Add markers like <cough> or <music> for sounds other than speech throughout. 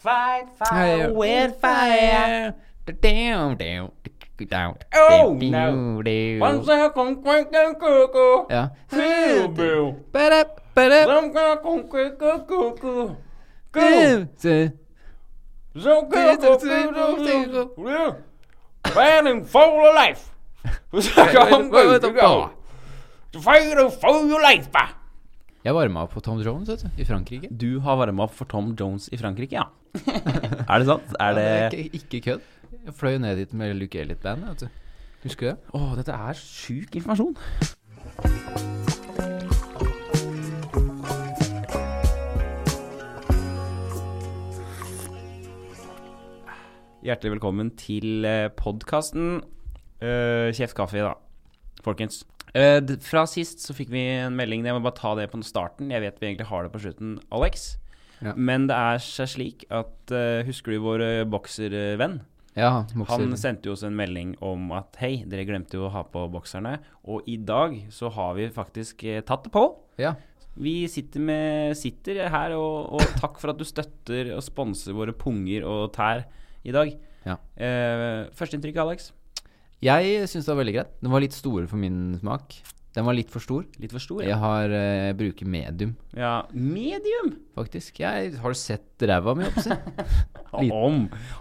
Fight Ja, fire ja. with fire. Down, down, down, Oh, down, no. down. One second, quick and cuckoo. Ja. Hey, Bill. Ba-da, ba-da, Some second, quick and cuckoo. Go. go. Så- So go, go, go, go, go. Man and full of <laughs> life. Second, quick and go. Fire and full of life. ba. Jeg varma opp på Tom Jones vet du, i Frankrike. Du har varma opp for Tom Jones i Frankrike, <laughs> ja. er det sant? Er Det er det ikke, ikke kødd. Jeg fløy ned dit med Luke Elliot-bandet. vet du. Husker du det? Å, dette er sjuk informasjon. Hjertelig velkommen til eh, podkasten Kjeft kaffe, da, folkens. Eh, d- Fra sist så fikk vi en melding. Jeg må bare ta det på starten. Jeg vet vi egentlig har det på slutten, Alex. Ja. Men det er seg slik at eh, Husker du vår eh, bokservenn? Ja, Han Moxer. sendte jo oss en melding om at hei, dere glemte jo å ha på bokserne, og i dag så har vi faktisk eh, tatt det på. Ja. Vi sitter, med, sitter her, og, og takk for at du støtter og sponser våre punger og tær i dag. Ja. Eh, Førsteinntrykk, Alex? Jeg syns det var veldig greit. Den var litt store for min smak. Den var litt for stor. Litt for stor? Jeg har, eh, jeg bruker medium, ja. Medium! faktisk. Jeg har du sett ræva mi, holdt jeg på å si? <laughs> Liten. Om!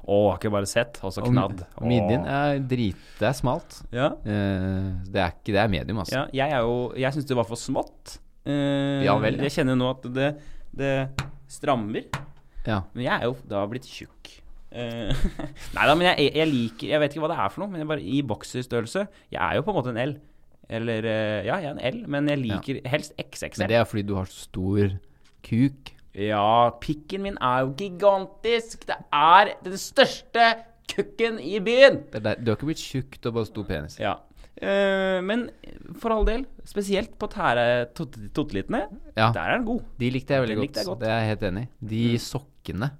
Å, har ikke bare sett, og så Og knadd. mi- Midjen Å. er drit... Det er smalt. ja. Eh, det er ikke Det er medium, altså. Ja, jeg er jo Jeg syns det var for smått. Eh, Ja vel, ja. Jeg kjenner jo nå at det, det strammer. Ja. Men jeg er jo da blitt tjukk. Eh, <laughs> Nei da, men jeg, jeg liker Jeg vet ikke hva det er for noe, men jeg bare, i bokserstørrelse Jeg er jo på en måte en L. Eller eh, Ja, jeg er en L, men jeg liker helst Men XXL. det er fordi du har så stor kuk. Ja, pikken min er jo gigantisk! Det er den største kukken i byen! Det er der, du har ikke blitt tjukk, du har bare stor penis. Ja. Eh, men for all del, spesielt på tære tot- tottelitene, Ja. der er den god. De likte jeg veldig Den godt. likte jeg godt. Mm. Det er jeg helt enig i. De sokkene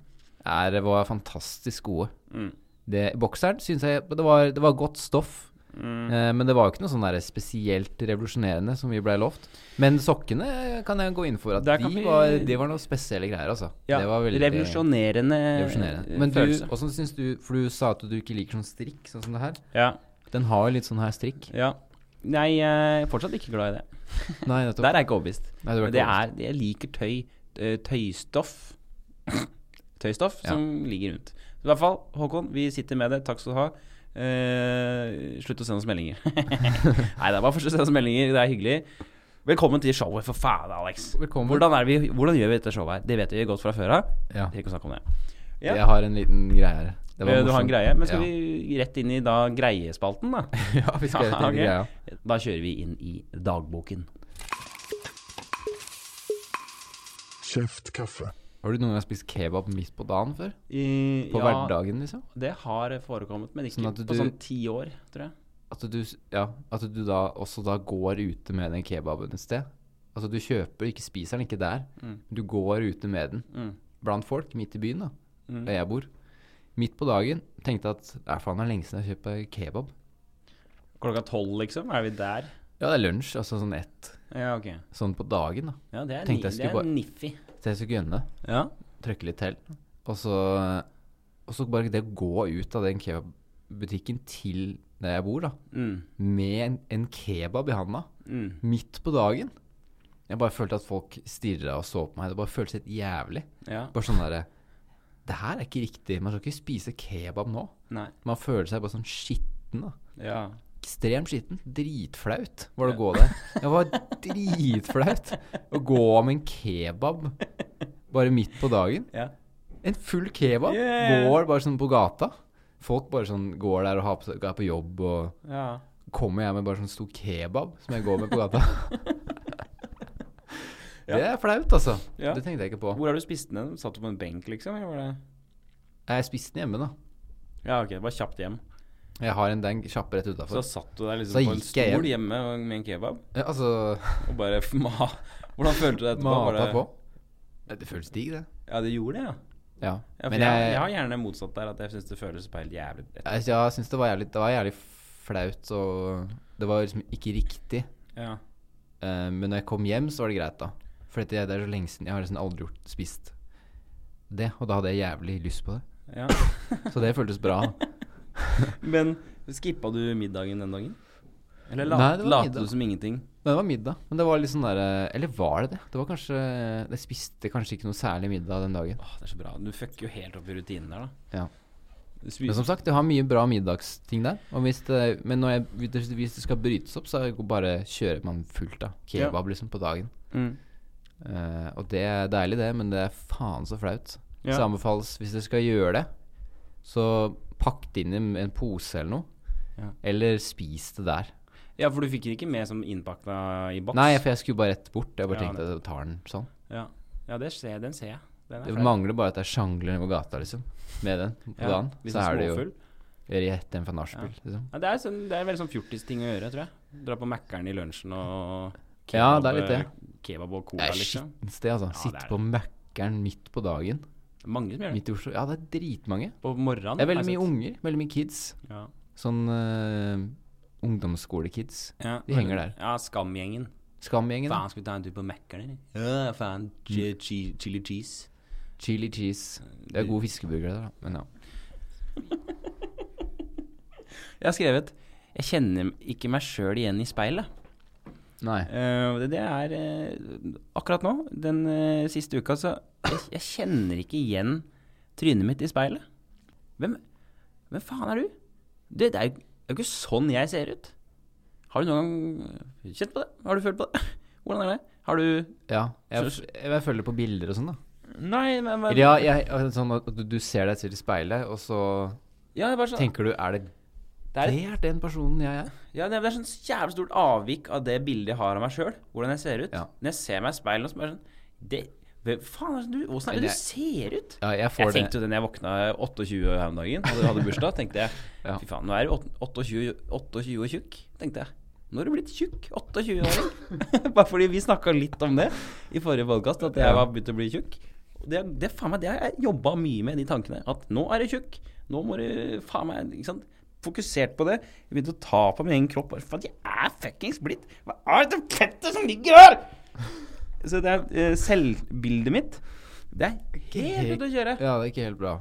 er, var fantastisk gode. Mm. Det, bokseren syns jeg det var, det var godt stoff. Mm. Eh, men det var jo ikke noe sånn der spesielt revolusjonerende som vi blei lovt. Men sokkene kan jeg gå inn for at Der de, kan vi- var, de var noe spesielle greier, altså. Ja, det var veldig revolusjonerende, revolusjonerende. eh, Men du, følelse. hvordan syns du For du sa at du ikke liker sånn strikk, sånn som det her. Ja, Den har jo litt sånn her strikk. ja. Nei, jeg er fortsatt ikke glad i det. Nei, nettopp. Der er jeg ikke overbevist. Nei, du Men er ikke det overbevist. er, jeg liker tøy, eh, <laughs> tøystoff Tøystoff Ja. som ligger rundt. I hvert fall, Håkon, vi sitter med det. Takk skal du ha. Eh, slutt å sende oss <laughs> meldinger. Nei, det er bare fortsatt å sende oss meldinger. Det er hyggelig. Velkommen til showet, for faen, Alex. Velkommen. Hvordan, er vi, hvordan gjør vi dette showet her? Det vet vi godt fra før av. Ja. Trenger ikke å snakke om det. Ja. Jeg har en liten greie her. Det var Eh, Du har en morsomt. greie, men skal Ja. vi rett inn i da greiespalten, da? <laughs> Ja, vi skal Ja, rett inn i greia. <laughs> ok. Da kjører vi inn i dagboken. Kjeftkaffe. Har du noen gang spist kebab midt på dagen før? På ja, hverdagen, liksom? Det har forekommet, men ikke Sånn at på du- sånn ti år, tror jeg. At du, s- ja, at du da også da går ute med den kebaben et sted? Altså, du kjøper, ikke spiser den, ikke der. Du går ute med den. Mm. Blant folk, midt i byen, da. Der jeg bor. Midt på dagen tenkte at det er faen det er lenge siden jeg har kjøpt kebab. Klokka tolv, liksom? Er vi der? Ja, det er lunsj, altså sånn ett. Ja, ok. Sånn på dagen, da. Ja, det er, ni, Tenkte jeg det skulle er bare- niffy. Så jeg skulle gønne. Ja. trykke litt til. Og så, og så bare det å gå ut av den kebabbutikken til der jeg bor, da, Mm. med en, en kebab i handa, Mm. midt på dagen Jeg bare følte at folk stirra og så på meg. Det bare føltes helt jævlig. Ja. Bare sånn derre Det her er ikke riktig. Man skal ikke spise kebab nå. Nei. Man føler seg bare sånn skitten, da. Ja. Ekstremt skitten. Dritflaut var det å gå der. Det var dritflaut å gå med en kebab bare midt på dagen. Ja. En full kebab Yeah. går bare sånn på gata. Folk bare sånn går der og har på, seg- er på jobb, og ja. kommer jeg med bare sånn stor kebab som jeg går med <laughs> på gata. Det er flaut, altså. Ja. Det tenkte jeg ikke på. Hvor har du spist den? Satt du på en benk, liksom? Eller var det... Jeg spiste den hjemme, da. Ja, ok. Bare kjapt hjem. Jeg har en deng kjapp rett Så utafor. satt du der Så liksom på en gikk jeg stol hjemme med en kebab, Altså og bare <laughs> ma... Hvordan følte du deg etterpå? Mata Bare- på. Ja, Det føles digg, det. Ja, det gjorde det, ja. Ja. Ja, for Men jeg, jeg jeg, har gjerne motsatt der, at jeg syns det føles bare helt jævlig etter. jeg, jeg syns det var jævlig Det var jævlig flaut, og det var liksom ikke riktig. Ja. Eh, men når jeg kom hjem, så var det greit, da. For det, det er så lenge siden. Jeg har liksom aldri gjort, spist det, og da hadde jeg jævlig lyst på det. Ja. Så det føltes bra. Men skippa du middagen den dagen? Eller Nei, lat, det var later middag. du som ingenting? Men det var middag. Men det var litt sånn derre Eller var det det? Det var kanskje eh, Jeg spiste kanskje ikke noe særlig middag den dagen. Åh, det er så bra. Du fucker jo helt opp i rutinen der, da. Ja. Du Men spiser som sagt, jeg har mye bra middagsting der. Og hvis det, men når jeg, hvis det- hvis det skal brytes opp, så går bare kjører man fullt av kebab liksom på dagen. mm. Eh, og det er deilig, det, men det er faen så flaut. Ja. Så anbefales, hvis dere skal gjøre det, så pakk det inn i en- en pose eller noe. Ja. Eller spis det der. ja, for du fikk den ikke med som innpakka i boks? Nei, for jeg skulle bare rett bort. Jeg bare Ja, tenkte at jeg tar den sånn. Ja, ja det ser, den ser jeg. Den Det flau. mangler bare at jeg sjangler ned på gata, liksom. Med den på Ja, dagen. Hvis Så er det jo småfull. rett en fra nachspiel, liksom. Ja, det, er sånn, det er veldig sånn fjortisting å gjøre, tror jeg. Dra på Mækkern i lunsjen og Ja, det er litt det. kebab og Det cola, er liksom. skittent sted, altså. det Sitte er på Mækkern midt på dagen. Mange som gjør det. Midt i Oslo. Ja, det er dritmange. På morgenen. Det er veldig har jeg mye sett. unger. Veldig mye kids. Ja. Sånn eh, ungdomsskolekids. Ja, De henger der. Ja, Skamgjengen. Skamgjengen. da. Faen, skal vi ta en tur på Mækkern, eller? Ja, Mm. faen. Chi- chi- Chili cheese. Chili cheese. Det er gode fiskeburgere der, da. Men ja. Jeg har skrevet Jeg kjenner ikke meg sjøl igjen i speilet. Nei. Eh, det, det er eh, Akkurat nå, den eh, siste uka, så jeg, jeg kjenner ikke igjen trynet mitt i speilet. Hvem, hvem faen er du? Det, det, er jo, det er jo ikke sånn jeg ser ut. Har du noen gang kjent på det? Har du følt på det? <laughs> Hvordan er det? Har du Ja. Jeg, Så- jeg følger på bilder og sånn, da. Nei, men, men Ja, jeg, sånn at du, du ser deg selv i speilet, og så ja, det er bare sånn, tenker du Er det det, er, det er den personen jeg er? ja, det er sånn jævlig stort avvik av det bildet jeg har av meg sjøl. Hvordan jeg ser ut. Ja. Når jeg ser meg i speilet, så bare sånn det, hvem faen, er det du, Åssen er det Men du ser ut? Ja, jeg Jeg får det. tenkte jo det når jeg våkna 28 her om dagen og hadde bursdag, tenkte jeg <laughs> Ja. fy faen, nå er du åt- 28, 28 og tjukk, tenkte jeg. Nå er du blitt tjukk. 28-åring. <laughs> Bare fordi vi snakka litt om det i forrige podkast, at jeg Ja. var begynt å bli tjukk. Og Det, det, faen meg, det har jeg jobba mye med, de tankene. At nå er du tjukk. Nå må du faen meg ikke sant? Fokusert på det. Jeg begynte å ta på min egen kropp. bare, Faen, jeg er fuckings blitt Hva er det fettet som ligger her?! Så det er eh, selvbildet mitt. Det er helt ute å kjøre. Ja, det er ikke helt bra.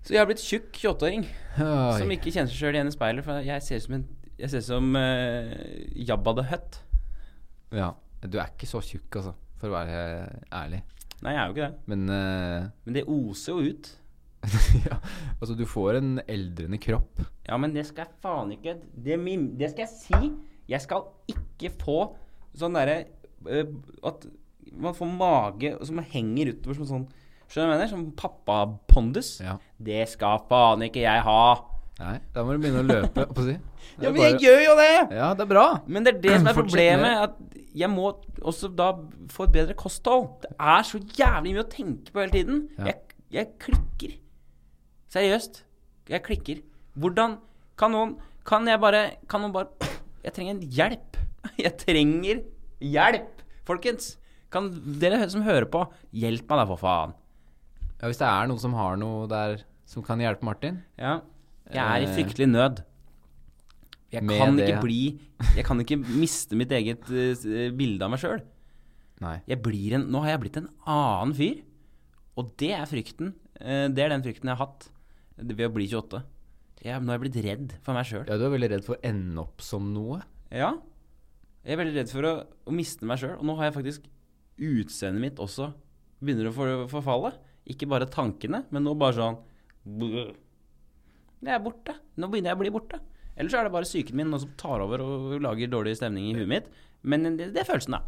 Så jeg har blitt tjukk 28-åring som Oi. ikke kjenner seg sjøl igjen i speilet. For jeg ser ut som en Jeg ser ut som eh, Jabba the Hutt. Ja. Du er ikke så tjukk, altså, for å være ærlig. Nei, jeg er jo ikke det. Men eh, <laughs> Men det oser jo ut. ja, altså, du får en eldrende kropp. Ja, men det skal jeg faen ikke Det, mim- det skal jeg si. Jeg skal ikke få sånn derre eh, At man får mage som henger utover som sånn Skjønner du hva jeg mener? Som pappapondus. Ja. Det skal faen ikke jeg ha. Nei, da må du begynne å løpe, holdt på å <laughs> si. Det er Ja, men bare- jeg gjør jo det! Ja, det er bra! Men det er det som er Fortsett problemet. At jeg må også da få et bedre kosthold. Det er så jævlig mye å tenke på hele tiden. Ja. Jeg, jeg klikker. Seriøst. Jeg klikker. Hvordan Kan noen Kan jeg bare Kan noen bare Jeg trenger en hjelp. <laughs> Jeg trenger hjelp, folkens. Kan dere som hører på, hjelp meg da, for faen. Ja, hvis det er noen som har noe der som kan hjelpe Martin Ja. Jeg er i Eh, fryktelig nød. Jeg med kan det- ikke bli Jeg kan ikke miste mitt eget eh, bilde av meg sjøl. Nei. jeg blir en, nå har jeg blitt en annen fyr. Og det er frykten. Eh, Det er den frykten jeg har hatt ved å bli 28. Jeg, nå har jeg blitt redd for meg sjøl. Ja, du er veldig redd for å ende opp som noe. Ja. Jeg er veldig redd for å, å miste meg sjøl. Og nå har jeg faktisk utseendet mitt også begynner å for, forfalle. Ikke bare tankene, men nå bare sånn bløh. Jeg er borte. Nå begynner jeg å bli borte. Eller så er det bare psyken min nå som tar over og lager dårlig stemning i huet mitt. Men eh, det, det er følelsen, da.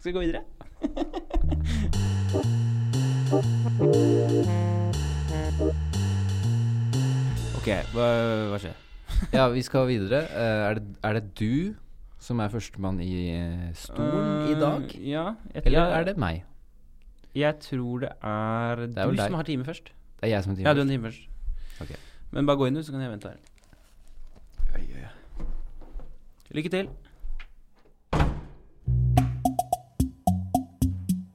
Skal vi gå <laughs> videre? OK, hva, hva skjer? Ja, vi skal videre. Eh, er, det, er det du som er førstemann i eh, stolen i dag? Eh, Ja, jeg, Eller er det meg? Jeg tror det er, er vel du deg. som har time først. Det er jeg som er Ja, du timer. har time først. Ok. Men bare gå inn, du, så kan jeg vente her. Lykke til.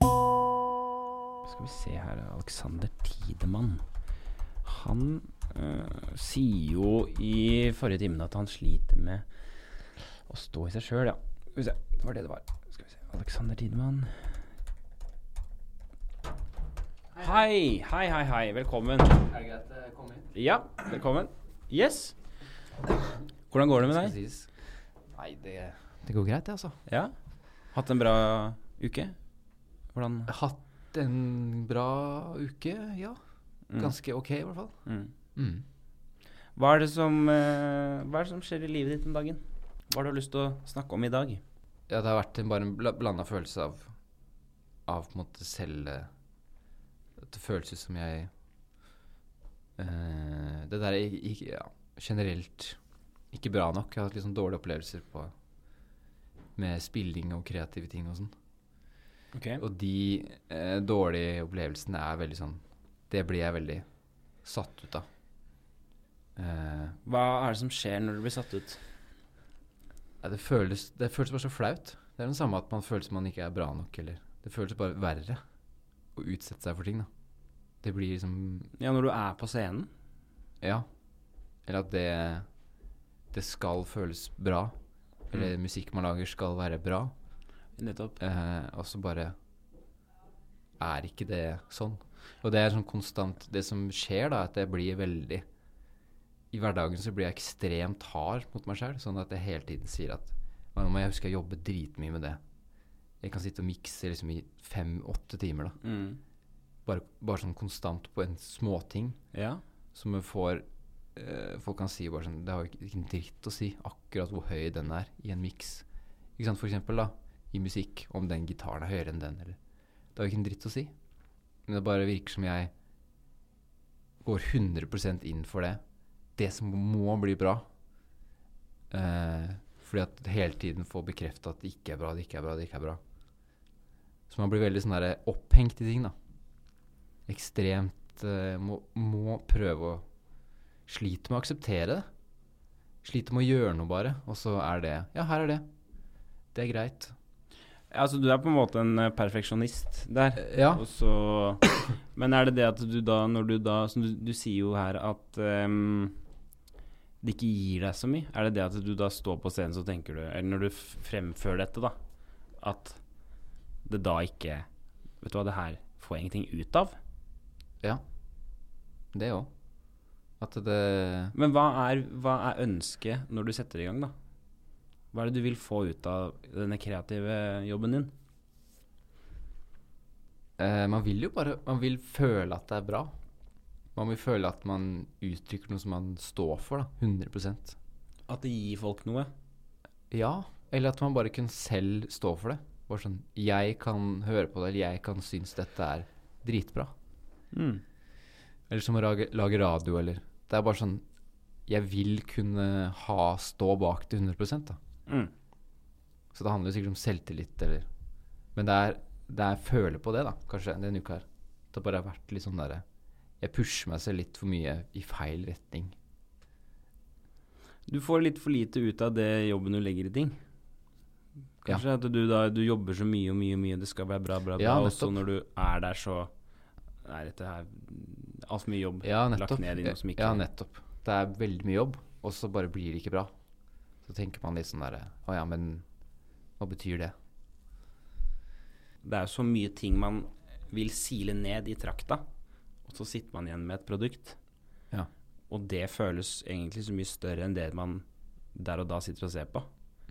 Skal vi se her Alexander Tidemann. Han eh, sier jo i forrige timen at han sliter med å stå i seg sjøl, ja. Skal vi se. Det var det det var. Skal vi se. Alexander Tidemann. Hei, hei, hei, hei. Velkommen. Er det greit eh, å komme inn? Ja, velkommen. Yes. Hvordan går det med deg? Nei, det, det går greit, det, altså. Ja? Hatt en bra uke? Hvordan Hatt en bra uke, ja. Mm. Ganske ok, i hvert fall. mm. Mm. Hva er det som eh, Hva er det som skjer i livet ditt om dagen? Hva har du lyst til å snakke om i dag? Ja, det har vært en, bare en blanda følelse av Av på en måte selv eh, At det føles ut som jeg eh, Det der er ikke ja, generelt ikke bra nok. Jeg har hatt litt sånn dårlige opplevelser på med spilling og kreative ting og sånn. Ok. Og de eh, dårlige opplevelsene er veldig sånn Det blir jeg veldig satt ut av. Eh, Hva er det som skjer når du blir satt ut? Nei, det, føles, det føles bare så flaut. Det er det samme at man føles som man ikke er bra nok. Eller. Det føles bare verre å utsette seg for ting. Da. Det blir liksom Ja, når du er på scenen? Ja. Eller at det, det skal føles bra. Eller musikk man lager skal være bra. Nettopp. Eh, og så bare er ikke det sånn. Og det er sånn konstant Det som skjer, da, er at jeg blir veldig I hverdagen så blir jeg ekstremt hard mot meg sjøl, sånn at jeg hele tiden sier at «Å, nå må jeg huske å jobbe dritmye med det. Jeg kan sitte og mikse liksom i fem-åtte timer, da. Mm. Bare, bare sånn konstant på en småting Ja. som jeg får eh, Folk kan si bare sånn Det har jo ikke- ikke en dritt å si akkurat hvor høy den er i en miks. Ikke sant, for eksempel, da. I musikk. Om den gitaren er høyere enn den, eller Det har jo ikke en dritt å si. Men det bare virker som jeg går 100 inn for det. Det som må bli bra. Eh, fordi at hele tiden får bekrefta at det ikke er bra, det ikke er bra, det ikke er bra. Så man blir veldig sånn der opphengt i ting, da. Ekstremt eh, må, må prøve å Sliter med å akseptere det. Sliter med å gjøre noe, bare. Og så er det Ja, her er det. Det er greit. Altså, du er på en måte en eh, perfeksjonist der. Ja. Og så Men er det det at du da, når du da som du, du sier jo her at ehm, det ikke gir deg så mye. Er det det at du da står på scenen, så tenker du Eller når du f- fremfører dette, da, at det da ikke Vet du hva, det her får jeg ingenting ut av. Ja. Det òg. At det Men hva er, hva er ønsket når du setter i gang, da? Hva er det du vil få ut av denne kreative jobben din? eh, Man vil jo bare Man vil føle at det er bra. Man vil føle at man uttrykker noe som man står for, da. 100 At det gir folk noe? Ja. Eller at man bare kan selv stå for det. Bare sånn Jeg kan høre på det, eller jeg kan synes dette er dritbra. Mm. Eller som å lage, lage radio, eller Det er bare sånn Jeg vil kunne ha stå bak det 100 da. Mm. Så det handler jo sikkert om selvtillit, eller Men det er, det er føle på det, da, kanskje, denne uka her. Det har bare vært litt sånn derre Jeg pusher meg selv litt for mye i feil retning. Du får litt for lite ut av det jobben du legger i ting. Kanskje at du da du jobber så mye og mye, og mye, det skal være bra, bra, bra, Ja, og så nettopp. når du er der, så er dette her altfor mye jobb Ja, nettopp. lagt ned i noe som ikke Ja, nettopp. Det er veldig mye jobb, og så bare blir det ikke bra. Så tenker man litt sånn derre Å ja, men hva betyr det? Det er jo så mye ting man vil sile ned i trakta, og så sitter man igjen med et produkt. Ja. Og det føles egentlig så mye større enn det man der og da sitter og ser på.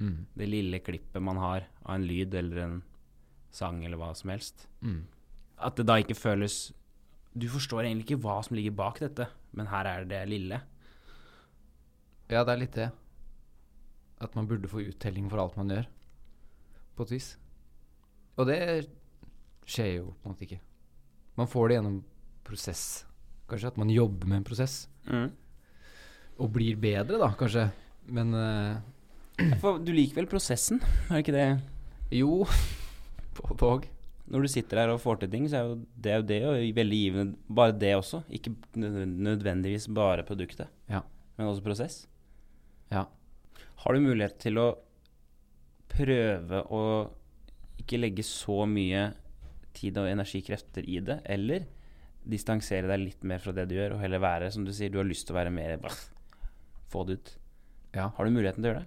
Mm. Det lille klippet man har av en lyd eller en sang eller hva som helst. Mm. At det da ikke føles Du forstår egentlig ikke hva som ligger bak dette, men her er det lille. Ja, det er litt det. At man burde få uttelling for alt man gjør, på et vis. Og det skjer jo på en måte ikke. Man får det gjennom prosess. Kanskje at man jobber med en prosess, og blir bedre, da, kanskje. Men eh, For du liker vel prosessen, er det ikke det? jo <laughs> på tog. Når du sitter her og får til ting, så er jo det er jo det, og veldig givende bare det også. Ikke nød- nødvendigvis bare produktet, Ja. men også prosess. Ja. Har du mulighet til å prøve å ikke legge så mye tid og energikrefter i det, eller distansere deg litt mer fra det du gjør, og heller være, som du sier, du har lyst til å være mer bare Få det ut. Ja. Har du muligheten til å gjøre det?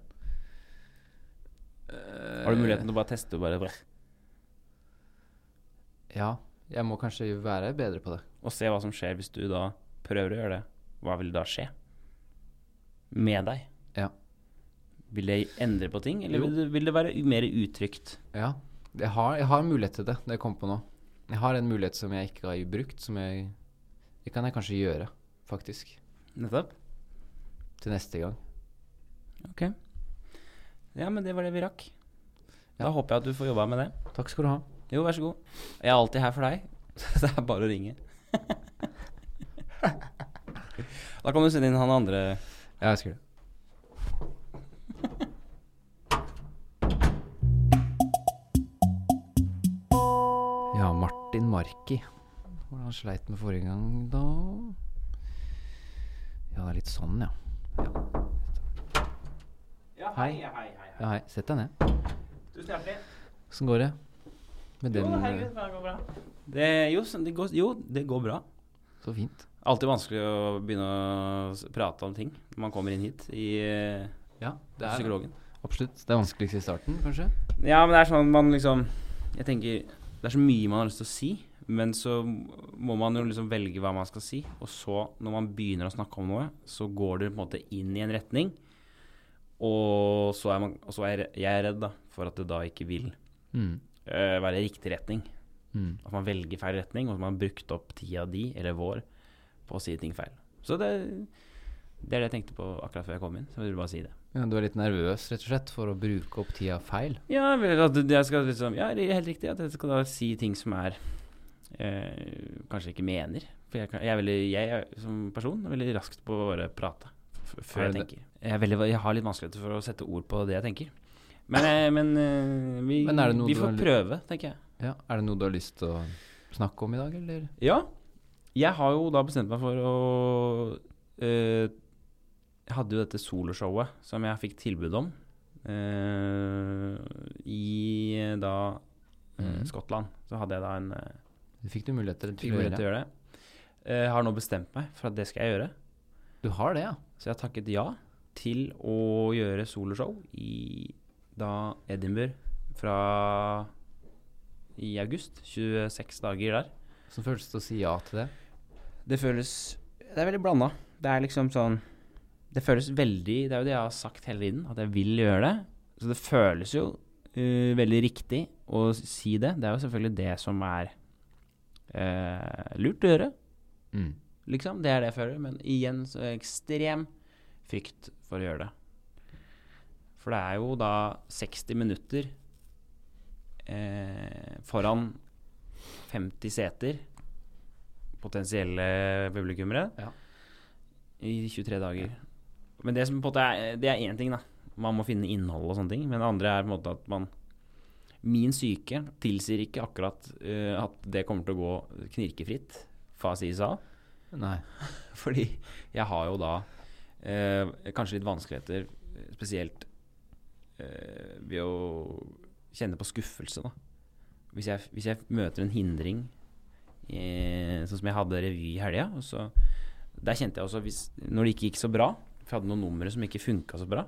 Har du muligheten til å bare teste og bare bare- Ja. Jeg må kanskje være bedre på det. Og se hva som skjer hvis du da prøver å gjøre det. Hva vil da skje? Med deg. Ja. Vil det endre på ting, eller Jo. vil det, vil det være u- mer utrygt? Ja. Jeg har, jeg har mulighet til det, det jeg kom på nå. Jeg har en mulighet som jeg ikke har brukt, som jeg Det kan jeg kanskje gjøre, faktisk. Nettopp. Til neste gang. Ok. Ja, men det var det vi rakk. Ja. Da håper jeg at du får jobba med det. Takk skal du ha. Jo, vær så god. Jeg er alltid her for deg. <laughs> Så det er bare å <laughs> ringe. da kan du sende inn han andre Ja, jeg <laughs> skal det. Ja, Martin Marki. Hvordan han sleit med forrige gang, da? Ja, det er litt sånn, ja. Ja, hei, hei, hei. Ja, hei. Sett deg ned. Tusen hjertelig. Åssen går det? Med den eh, det går bra. Det, jo, sånn, det går, jo, det går bra. Så fint. Alltid vanskelig å begynne å s- prate om ting når man kommer inn hit i eh, Ja, det er psykologen. Absolutt. Det er vanskeligst i starten, kanskje? Ja, men det er sånn man liksom Jeg tenker Det er så mye man har lyst til å si, men så må man jo liksom velge hva man skal si. Og så, når man begynner å snakke om noe, så går det på en måte inn i en retning. Og så er, man, og så er jeg- jeg er redd da, for at det da ikke vil Mm. eh, være riktig retning. Mm. At man velger feil retning, og at man har brukt opp tida di, eller vår, på å si ting feil. Så det, det er det jeg tenkte på akkurat før jeg kom inn. Så jeg ville bare si det. Ja, du er litt nervøs, rett og slett, for å bruke opp tida feil? Ja, vel, at det- jeg skal liksom Ja, det er helt riktig. At jeg skal da si ting som er eh, Kanskje ikke mener. For jeg, kan, jeg er veldig Jeg er, som person er veldig raskt på å bare prate f før Er jeg det tenker. Jeg, er veldig, jeg har litt vanskeligheter for å sette ord på det jeg tenker. Men, eh, men eh, vi, Men er det noe vi du får har lyst- prøve, tenker jeg. Ja. Er det noe du har lyst til å snakke om i dag, eller? Ja. Jeg har jo da bestemt meg for å eh, Jeg hadde jo dette soloshowet som jeg fikk tilbud om eh, i eh, da eh, Mhm. Skottland. Så hadde jeg da en eh, Du fikk du muligheter fikk til å mulighet til å gjøre gjøre det. Eh, Jeg har nå bestemt meg for at det skal jeg gjøre. Du har det, ja? Så jeg har takket ja til å gjøre soloshow i da Edinburgh fra i august. 26 dager der. Som føles det å si ja til det? Det føles Det er veldig blanda. Det er liksom sånn Det føles veldig Det er jo det jeg har sagt hele tiden, at jeg vil gjøre det. Så det føles jo eh, veldig riktig å si det. Det er jo selvfølgelig det som er eh, lurt å gjøre, Mm. liksom. Det er det jeg føler. Men igjen så er jeg ekstrem frykt for å gjøre det. For det er jo da 60 minutter eh, foran 50 seter potensielle publikummere Ja. i 23 dager. Men det som på en måte er Det er én ting, da. Man må finne innhold og sånne ting. Men det andre er på en måte at man Min syke tilsier ikke akkurat eh, at det kommer til å gå knirkefritt fra si sa. Nei. <laughs> Fordi jeg har jo da eh, kanskje litt vanskeligheter, spesielt eh, ved å kjenne på skuffelse, da. Hvis jeg, hvis jeg møter en hindring, eh, sånn som jeg hadde revy i helga og så- Der kjente jeg også hvis, Når det ikke gikk så bra, for jeg hadde noen numre som ikke funka så bra,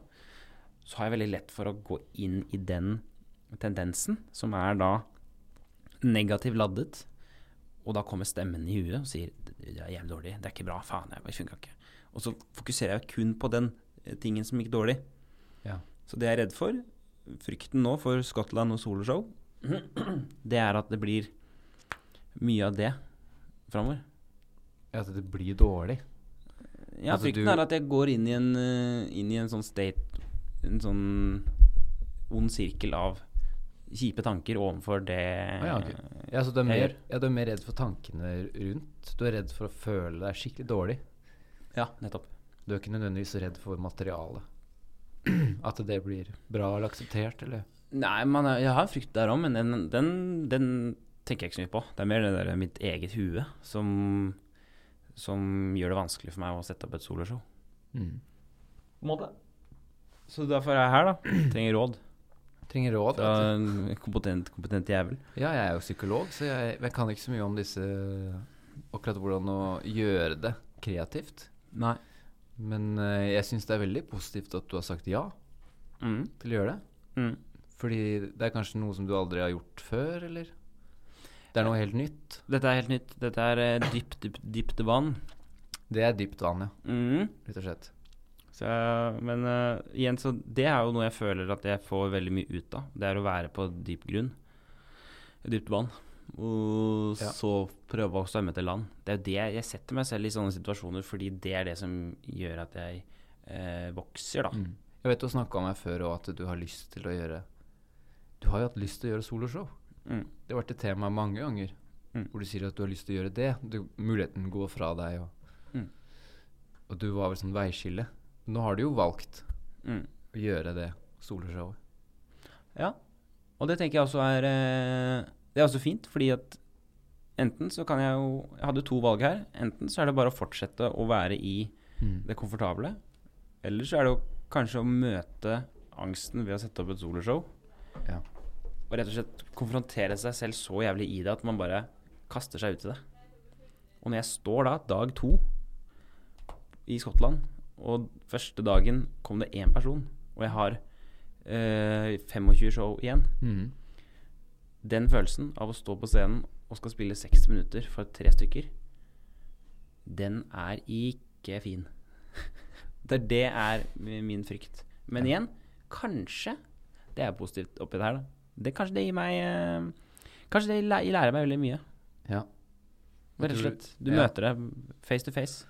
så har jeg veldig lett for å gå inn i den tendensen, som er da negativ laddet. Og da kommer stemmen i huet og sier det er jævlig dårlig, det er ikke bra, faen, jeg- det funka ikke. Og så fokuserer jeg kun på den eh, tingen som gikk dårlig. Ja. Så det jeg er redd for, frykten nå for Skottland og soloshow, det er at det blir mye av det framover. At det blir dårlig? Ja, Altså, frykten du- er at jeg går inn i en, eh, inn i en sånn state En sånn ond sirkel av kjipe tanker overfor det eh, Ah, ja, ok. Ja, så du er, Jeg mer, gjør. ja, du er mer redd for tankene rundt? Du er redd for å føle deg skikkelig dårlig? Ja, nettopp. Du er ikke nødvendigvis redd for materialet? <clears throat> At det blir bra eller akseptert, eller? Nei, man er, jeg har frykt der òg, men den, den, den tenker jeg ikke så mye på. Det er mer det der mitt eget hue som, som gjør det vanskelig for meg å sette opp et soloshow. Mm. Så derfor er jeg her, da. Trenger råd Trenger råd? fra vet du. en kompetent, kompetent jævel. Ja, jeg er jo psykolog, så jeg, jeg kan ikke så mye om disse Akkurat hvordan å gjøre det kreativt. Nei. Men eh, jeg syns det er veldig positivt at du har sagt ja Mm. til å gjøre det. Mm. Fordi det er kanskje noe som du aldri har gjort før, eller? Det er noe helt nytt. Dette er helt nytt. Dette er eh, dypt, dypt, dypt vann. Det er dypt vann, ja. Mhm. Rett og slett. Så, jeg- men eh, igjen, så det er jo noe jeg føler at jeg får veldig mye ut av. Det er å være på dyp grunn. Dypt vann. Og Ja. så prøve å svømme til land. Det er jo det jeg- jeg setter meg selv i sånne situasjoner, fordi det er det som gjør at jeg eh, vokser, da. Mm. Jeg vet du har snakka om her før òg, at du har lyst til å gjøre Du har jo hatt lyst til å gjøre soloshow. Mm. Det har vært et tema mange ganger. Mm. Hvor du sier at du har lyst til å gjøre det. Du, muligheten går fra deg. Og, Mm. og du var vel sånn veiskille. Nå har du jo valgt Mm. å gjøre det soloshowet. Ja. Og det tenker jeg også er eh, Det er også fint, fordi at enten så kan jeg jo Jeg hadde to valg her. Enten så er det bare å fortsette å være i Mm. det komfortable. Eller så er det jo kanskje å møte angsten ved å sette opp et soloshow. Ja. Og rett og slett konfrontere seg selv så jævlig i det at man bare kaster seg ut i det. Og når jeg står da, dag to i Skottland, og første dagen kom det én person, og jeg har eh, 25 show igjen Mm. Den følelsen av å stå på scenen og skal spille 60 minutter for tre stykker, den er ikke fin. <laughs> Det, er- det er mi- min frykt. Men igjen, kanskje det er positivt oppi det her, da. Det, kanskje det gir meg eh, Kanskje det læ- lærer meg veldig mye. Ja. Rett og Jeg tror- slett. Du ja. møter det face to face.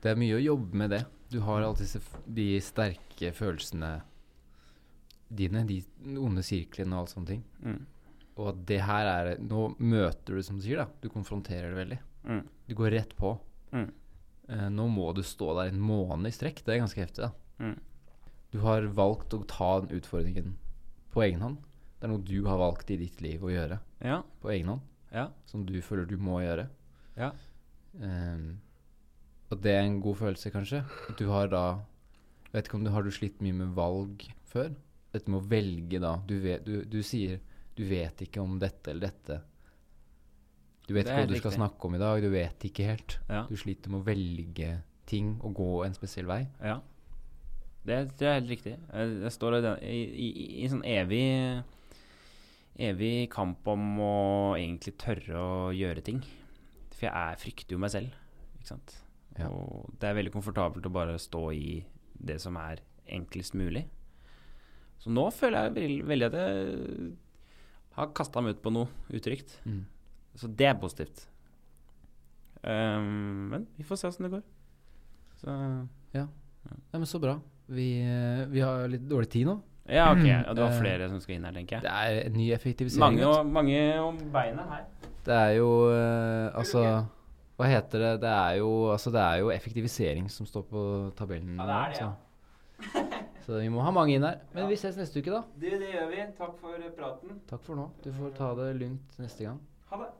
Det er mye å jobbe med det. Du har alltid disse, f- de sterke følelsene dine, de onde sirklene og alt sånne ting. Mm. Og at det her er Nå møter du, som du sier, da. Du konfronterer det veldig. Mm. Du går rett på. Mm. Eh, nå må du stå der en måned i strekk. Det er ganske heftig, da. Mm. Du har valgt å ta den utfordringen på egen hånd. Det er noe du har valgt i ditt liv å gjøre Ja. på egen hånd. Ja. Som du føler du må gjøre. Ja. Ehm, og det er en god følelse, kanskje. At du har da jeg Vet ikke om du har du slitt mye med valg før? Dette med å velge, da. Du, vet, du, du sier du vet ikke om dette eller dette. Du vet Det ikke er hva du skal riktig. snakke om i dag. Du vet ikke helt. Ja. Du sliter med å velge ting og gå en spesiell vei. Ja. Det tror jeg er helt riktig. Jeg, jeg står i, den, i, i, i en sånn evig Evig kamp om å egentlig tørre å gjøre ting. For jeg er, frykter jo meg selv, ikke sant. Ja. Og det er veldig komfortabelt å bare stå i det som er enklest mulig. Så nå føler jeg veldig, veldig at jeg har kasta meg ut på noe utrygt. Mm. Så det er positivt. Ehm, men vi får se åssen det går. Så Ja, men så bra. Vi, eh, vi har litt dårlig tid nå. Ja, ok. Ja, det var Eh, flere som skulle inn her, tenker jeg. Det er en ny effektivisering. Mange, vet du. om- mange om beina her. Det er jo eh, Altså, hva heter det? Det er jo, altså, det er jo effektivisering som står på tabellen. Ja, det er det, nå, Så. <laughs> så vi må ha mange inn her. Men Ja. vi ses neste uke, da. Du, det gjør vi. Takk for praten. Takk for nå. Du får ta det lunt neste gang. Ha det.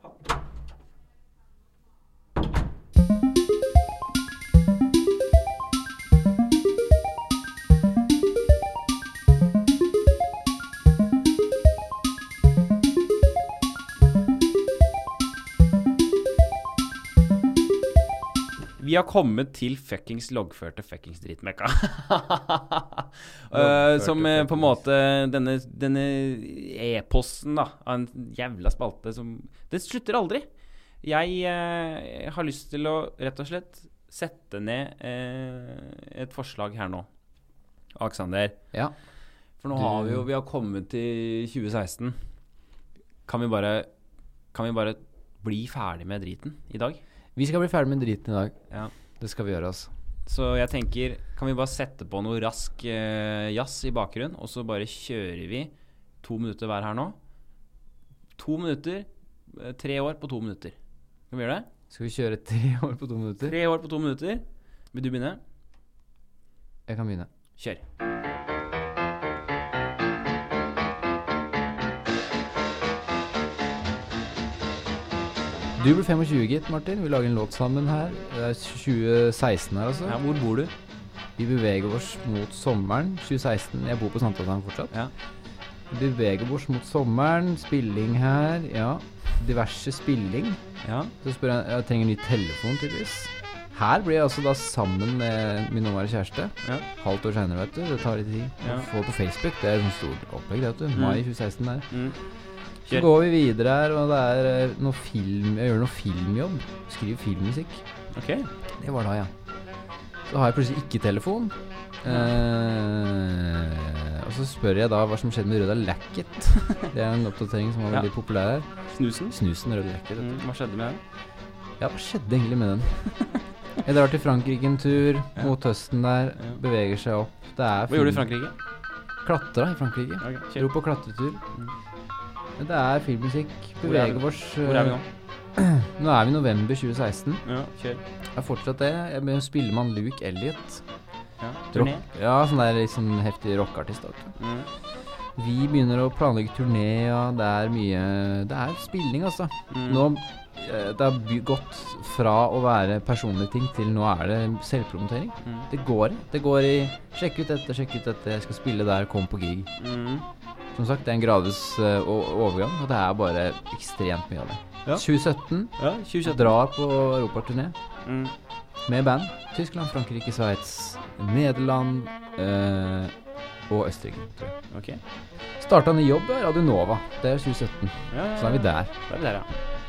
Vi har kommet til fuckings loggførte fuckings <laughs> drittmekka. Eh, som eh, på en måte Denne, denne e-posten da av en jævla spalte som Det slutter aldri. Jeg eh, har lyst til å rett og slett sette ned eh, et forslag her nå. Alexander. Ja. For nå Du- har vi jo Vi har kommet til 2016. Kan vi bare Kan vi bare bli ferdig med driten i dag? Vi skal bli ferdig med driten i dag. Ja. Det skal vi gjøre, altså. Så jeg tenker, kan vi bare sette på noe rask eh, jazz i bakgrunnen, og så bare kjører vi to minutter hver her nå. To minutter, eh, tre år på to minutter. Kan vi gjøre det? Skal vi kjøre tre <laughs> år på to minutter? Tre år på to minutter. Vil du begynne? Jeg kan begynne. Kjør. Du blir 25, gitt, Martin. Vi lager en låt sammen her. Det er 2016 her, altså. Ja, hvor bor du? Vi beveger oss mot sommeren 2016. Jeg bor på Sankthanshavn fortsatt. Ja. Vi beveger oss mot sommeren. Spilling her, ja. Diverse spilling. Ja. Så spør jeg jeg trenger ny telefon, tydeligvis. Her blir jeg altså da sammen med min nåværende kjæreste. Ja. Halvt år seinere, vet du. Det tar litt tid. Ja. Å Få på Facebook, det er et sånt stort opplegg, det, vet du. Mm. Mai 2016 der. Mm. Kjør. Så går vi videre her, og det er eh, noe film Jeg gjør noe filmjobb. Skriver filmmusikk. Ok. Det var da, ja. Så har jeg plutselig ikke telefon. Eh, og så spør jeg da hva som skjedde med Røda Lacket. <laughs> Det er en oppdatering som var Ja. veldig populær her. Snusen. Snusen Røda Lacket. Mm, hva skjedde med den? Ja, hva skjedde egentlig med den? <laughs> Jeg drar til Frankrike en tur, Ja. mot høsten der. Ja. Beveger seg opp. Det er Hva gjorde du i Frankrike? Klatra i Frankrike. Ok, Dro kjør. på klatretur. Mm. Men det er filmmusikk. Hvor er vi Beveger oss Hvor er vi nå? eh, Nå er vi i november 2016. Ja, kjør. Det er fortsatt det. Jeg begynner å spille med han Luke Elliot. Ja. Rock- Turné. Ja, sånn der liksom heftig rockeartist. da, vet Mm. du. Vi begynner å planlegge turné, og det er mye Det er spilling, altså. Mm. Nå eh, Det har by- gått fra å være personlige ting til nå er det selvpromotering. Mm. Det går i. Det går i sjekk ut dette, sjekk ut dette, jeg skal spille der, kom på gig. Mm. Som sagt, det er en gradvis eh, o- overgang, og det er bare ekstremt mye av det. Ja. 2017 Ja, så 2017. drar på europaturné Mm. med band. Tyskland, Frankrike, Sveits, Nederland eh, og Østerrike, tror jeg. Ok. Starta ny jobb i Radio Nova. Det er 2017. Ja, Så da er vi Da der. er vi der, ja.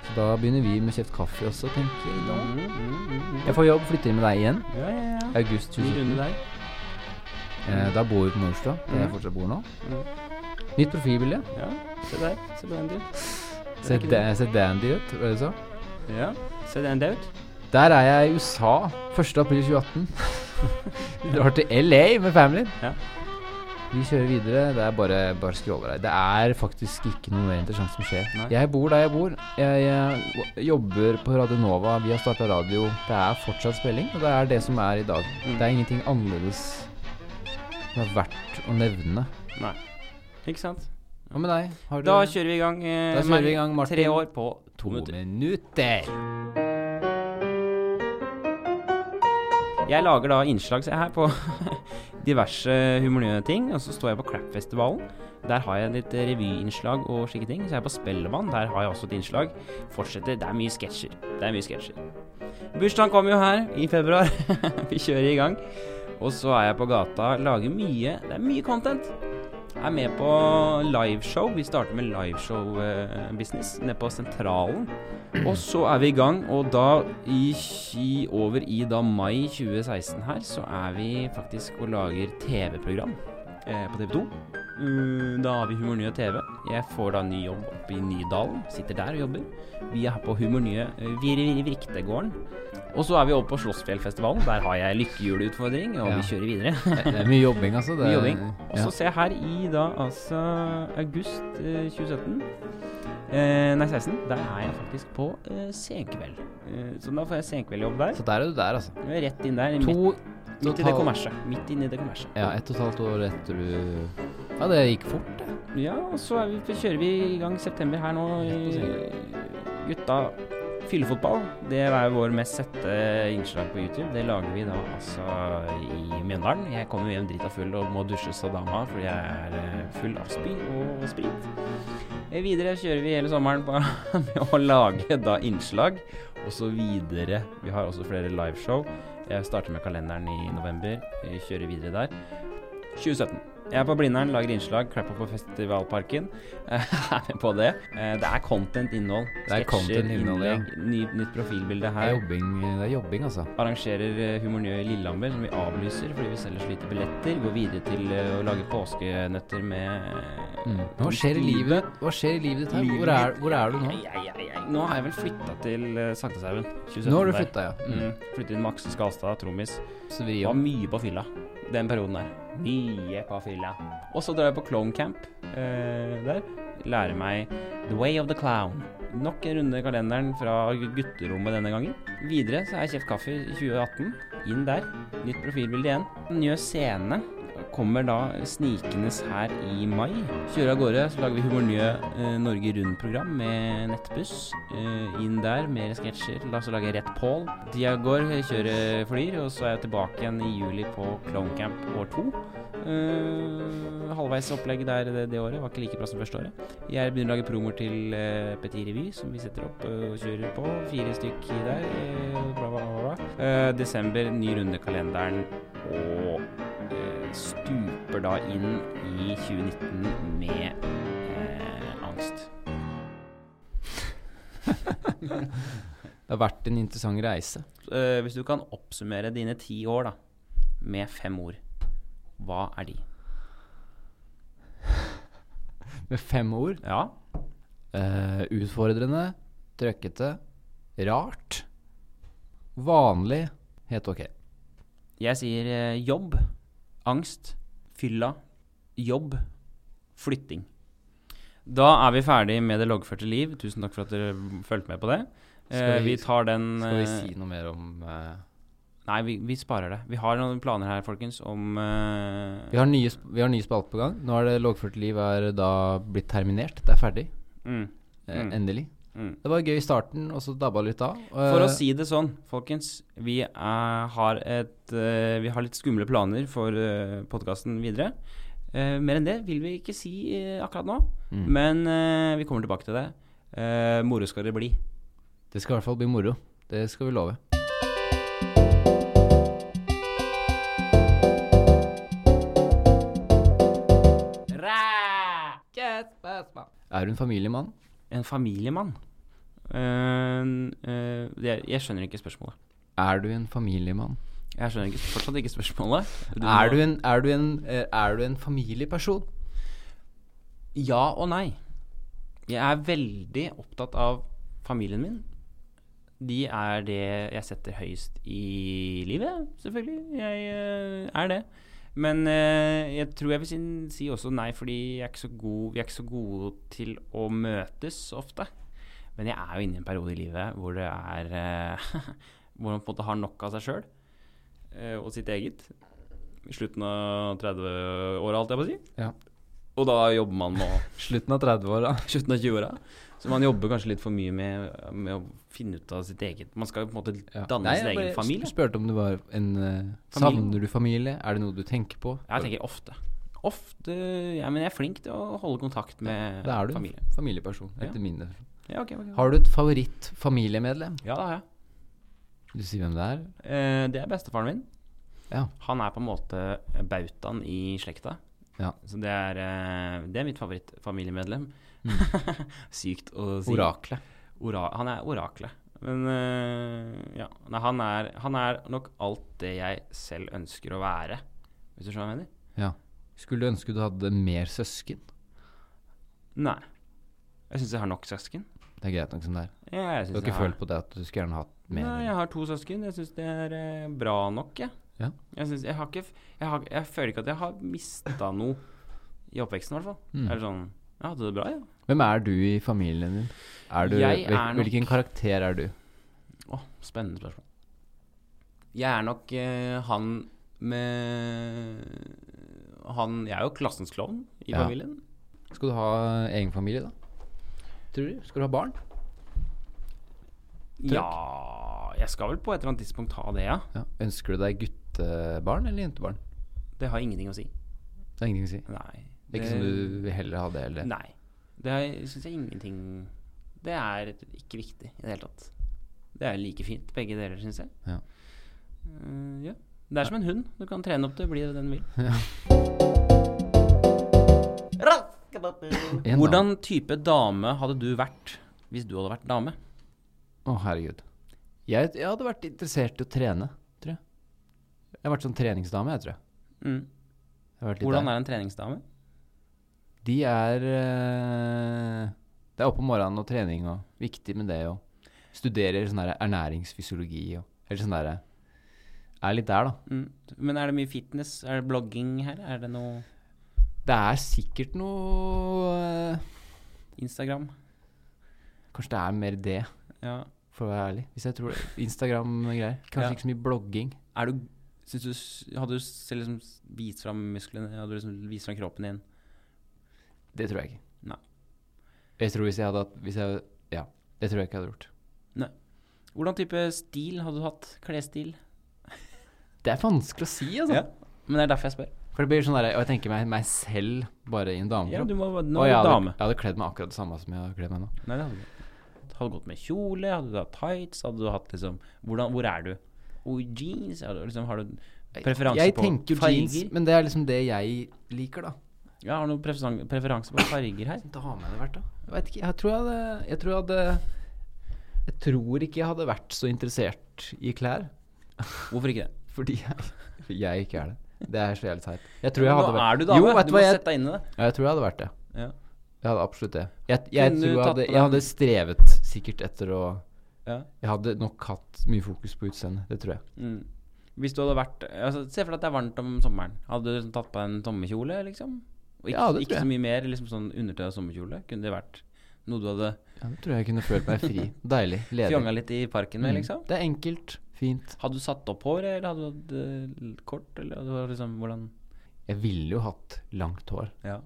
Så da begynner vi med Kjeft kaffe også, tenker jeg. da. Mm, mm, mm, mm. Jeg får jobb, flytter inn med deg igjen. Ja, ja, ja. August Ny runde 2017. der. Eh, da bor vi på Majorstua, der jeg Mhm. fortsatt bor nå. Mhm. Nytt profilbilde. Ja, se der. Se på den, du. Ser, da, ser dandy ut, var det du sa? Ja, se den der ut. Der er jeg i USA 1. <laughs> april 2018. Vi drar til LA med familien. Ja. Vi kjører videre. Det er bare, bare scroller her. Det er faktisk ikke noe mer interessant som skjer. Nei. Jeg bor der jeg bor. Jeg, eh, jobber på Radio Nova. Vi har starta radio. Det er fortsatt spilling, og det er det som er i dag. Mm. Det er ingenting annerledes som er verdt å nevne. Ikke sant? Hva med deg? Har du Da kjører vi i gang. eh, Da kjører vi i gang, med Martin. Tre år på to to minutter. minutter. Jeg lager da innslag se her på <laughs> diverse humornøye-ting, og så står jeg på Crap-festivalen. Der har jeg litt revyinnslag og slike ting. Så er jeg på Spellemann, der har jeg også et innslag. Fortsetter. Det er mye sketsjer. Det er mye sketsjer. Bursdagen kommer jo her i februar. <laughs> vi kjører i gang. Og så er jeg på gata, lager mye Det er mye content. Jeg er med på liveshow. Vi starter med liveshow-business nede på Sentralen. Og så er vi i gang, og da i, i, over i da mai 2016 her, så er vi faktisk og lager TV-program eh, på TV 2. da har vi Humornye TV. Jeg får da ny jobb oppe i Nydalen. Sitter der og jobber. Vi er her på Humornye uh, vir, vir, Vriktegården. Og så er vi oppe på Slåssfjellfestivalen. Der har jeg lykkehjulutfordring, og Ja. vi kjører videre. <laughs> Det det er mye jobbing, altså. Det Mye er- jobbing. Og så Ja. ser jeg her i da altså august eh, 2017 eh, Nei, 16. Der er jeg faktisk på eh, senkveld. Eh, så da får jeg senkveldjobb der. Så der er du der, altså. Jeg er Rett inn der. midt, To midt i det total- kommerset. Midt inn i det kommerset. Ja, ett og et halvt år etter du Ja, det gikk fort, det. Ja, og så er vi, så kjører vi i gang september her nå. Rett på i- Gutta fyllefotball. Det er vår mest sette innslag på YouTube. Det lager vi da altså i Mjøndalen. Jeg kommer hjem drita full og må dusjes av dama fordi jeg er eh, full av spy og sprit. Eh, Videre kjører vi hele sommeren på <laughs> med å lage da innslag og så videre. Vi har også flere liveshow. Jeg starter med kalenderen i november. Vi kjører videre der. 2017. Jeg er på Blindern, lager innslag, crapper på Festivalparken. <laughs> Eh, er med på det. Eh, Det er content-innhold. Det er content-innhold, ja. ny, nytt profilbilde Det er her. jobbing, det er jobbing altså. Arrangerer eh, Humor Njø i Lillehammer, som vi avlyser fordi vi selger så lite billetter. Går videre til eh, å lage påskenøtter med eh, Mm. Hva skjer i livet ditt? Hva skjer i livet ditt her? Hvor er, hvor er du nå? Ai, ai, ai, ai. Nå har jeg vel flytta til eh, Sankthanshaugen. 2017 Nå har du der. flytta, ja. Mm. Mm. Flyttet inn Max Skalstad, trommis. Så vri Var om. mye på fylla den perioden der. Mye på fylla. Og så drar jeg på clone camp eh, der. Lærer meg The Way of the Clown. Nok en runde i kalenderen fra gutterommet denne gangen. Videre så er Kjeft kaffe i 2018. Inn der. Nytt profilbilde igjen. Njø scene kommer da snikende her i mai. Kjører av gårde, så lager vi Humornjø eh, Norge Rundt-program med nettbuss. Eh, inn der, mer sketsjer. La oss lage Rett Pål. Dia går, kjører flyr, og så er jeg tilbake igjen i juli på Clone Camp år to. Eh, halvveis opplegg der det, det året. Var ikke like bra som første året. Jeg begynner å lage promoer til eh, Petit Revy, som vi setter opp eh, og kjører på. Fire stykk i der. Eh, bla, bla, bla. bla. Eh, desember, ny runde i kalenderen. Og eh, stuper da inn i 2019 med eh, angst. Det har vært en interessant reise. Eh, hvis du kan oppsummere dine ti år da med fem ord, hva er de? Med fem ord. Ja. Eh, utfordrende, trøkkete, rart, vanlig, helt ok. Jeg sier eh, jobb, angst, fylla, jobb, flytting. Da er vi ferdig med det loggførte liv. Tusen takk for at dere fulgte med på det. Eh, Skal vi- vi tar den Skal vi eh, si noe mer om eh, Nei, vi, vi sparer det. Vi har noen planer her, folkens, om eh, vi, har nye, sp- vi har nye spalter på gang. Nå er det Loggført liv er da blitt terminert. Det er ferdig. mm, Eh, Mm. Endelig. mm. Det var gøy i starten, og så dabba det litt av. Eh, For å si det sånn, folkens. Vi, er, har, et, eh, vi har litt skumle planer for uh, podkasten videre. Eh, mer enn det vil vi ikke si eh, akkurat nå, Mm. men eh, vi kommer tilbake til det. Uh, moro skal det bli. Det skal i hvert fall bli moro. Det skal vi love. Er du en familiemann? En familiemann. Eh, eh, det, jeg skjønner ikke spørsmålet. Er du en familiemann? Jeg skjønner ikke, fortsatt ikke spørsmålet. Er du en, er du en, eh, er du en familieperson? Ja og nei. Jeg er veldig opptatt av familien min. De er det jeg setter høyest i livet, selvfølgelig. Jeg eh, er det. Men eh, jeg tror jeg vil si, si også nei, fordi jeg er ikke så god, vi er ikke så gode til å møtes ofte. Men jeg er jo inne i en periode i livet hvor det er eh, <laughs> Hvor man på en måte har nok av seg sjøl og sitt eget. I slutten av 30-åra, holdt jeg på å si. Ja. Og da jobber man med å Slutten av 30-åra. slutten av 20-åra. Så man jobber kanskje litt for mye med, med å finne ut av sitt eget Man skal jo på en måte danne sin egen familie. spurte om du var en eh, Familie. Savner du familie? Er det noe du tenker på? Jeg tenker ofte. Ofte Ja, men jeg er flink til å holde kontakt med da er du familie. en familieperson, etter min definisjon. Ja, ok, ok. Har du et favorittfamiliemedlem? ja, det har jeg. Vil du si hvem det er? Eh, det er bestefaren min. Ja. Han er på en måte bautaen i slekta. Ja. Så det er, eh, det er mitt favorittfamiliemedlem. Mm. <laughs> Sykt å si. Oraklet. Ora han er oraklet. Men øh, ja. Nei, han, er, han er nok alt det jeg selv ønsker å være, hvis du skjønner hva jeg mener? Ja. Skulle du ønske du hadde mer søsken? Nei. Jeg syns jeg har nok søsken. Det er greit nok som det er. Ja, jeg synes Du har ikke jeg har- følt på det at du skulle gjerne hatt mer? Nei, eller? jeg har to søsken. Jeg syns det er eh, bra nok, jeg. Ja. Jeg, synes, jeg, har ikke, f- jeg, har, jeg føler ikke at jeg har mista noe i oppveksten, i hvert fall. Mm. Eller sånn Jeg hadde det bra, jeg. Hvem er du i familien din? Er du, Jeg er hvil- nok- hvilken karakter er du? Ja. Å, spennende spørsmål. Jeg er nok eh, han med Han Jeg er jo klassens klovn i Ja. familien. Skal du ha egen familie, da? Tror du? Skal du ha barn? Ja Jeg skal vel på et eller annet tidspunkt ha det, ja. Ja. Ønsker du deg guttebarn eller jentebarn? Det har ingenting å si. Det er ingenting å si. Nei. Det er ikke som du vil heller ha det, eller Nei. Det syns jeg ingenting Det er ikke viktig i det hele tatt. Det er like fint, begge deler, syns jeg. Ja. Eh, ja. Det er som en hund. Du kan trene opp til å bli det den vil. En dame. Hvordan type dame hadde du vært hvis du hadde vært dame? Å, herregud. Jeg, jeg hadde vært interessert i å trene, tror jeg. Jeg har vært sånn treningsdame, jeg, tror jeg. Mm. jeg har vært litt Hvordan der. er en treningsdame? De er eh, Det er opp om morgenen og trening og viktig med det og studerer sånn der ernæringsfysiologi og Eller sånn derre Er litt der, da. Mm. Men er det mye fitness? Er det blogging her? Er det noe Det er sikkert noe eh, Instagram? Kanskje det er mer det, Ja. for å være ærlig. Hvis jeg tror det. Instagram-greier. Kanskje Ja. ikke så mye blogging. Er du Syns du s- Hadde du selv liksom s- vist fram musklene? Hadde du liksom vist fram kroppen din? Det tror jeg ikke. Nei. Jeg tror hvis jeg hadde hatt hvis jeg, Ja. Det tror jeg ikke jeg hadde gjort. Hvordan type stil hadde du hatt? Klesstil? Det er vanskelig å si, altså. Ja. Men det er derfor jeg spør. For det blir sånn der, Og jeg tenker meg, meg selv bare i en Ja, damekropp. du må Og Nå jeg er du hadde, dame. jeg hadde kledd meg akkurat det samme som jeg har kledd meg nå. Nei, det hadde du ikke. Hadde du gått med kjole? Hadde du hatt tights? Hadde du hatt liksom hvordan, Hvor er du? Og jeans? Hadde, du liksom, har du preferanse jeg på tenker jo farger? jeans, men det er liksom det jeg liker, da. Ja, har du noen preferanse, preferanse på farger her? Dame hadde vært, da. Jeg vet ikke. Jeg tror jeg hadde Jeg tror jeg hadde Jeg tror ikke jeg hadde vært så interessert i klær. Hvorfor ikke det? Fordi jeg, jeg ikke er det. Det er så jævlig teit. Jeg tror jeg hadde Nå vært er du dame. Jo, du vet du hva, må jeg, sette deg inn i det. ja, jeg tror jeg hadde vært det. Ja. Jeg hadde absolutt det. Jeg, jeg, Kunne du tror jeg, tatt hadde, på jeg den- hadde strevet sikkert etter å Ja. Jeg hadde nok hatt mye fokus på utseendet, det tror jeg. Mm. Hvis du hadde vært altså, Se for deg at det er varmt om sommeren. Hadde du liksom tatt på deg en sommerkjole, liksom? Og ikke, Ja, det tror ikke jeg. så mye mer. Liksom sånn undertøy og sommerkjole. Kunne det vært noe du hadde Ja, det tror jeg jeg kunne følt meg <laughs> fri. Deilig. Ledig. fjanga litt i parken med, Mm. liksom? Det er enkelt. Fint. Hadde du satt opp håret, eller hadde du hatt eh, kort, eller hadde du liksom hvordan Jeg ville jo hatt langt hår. Ja.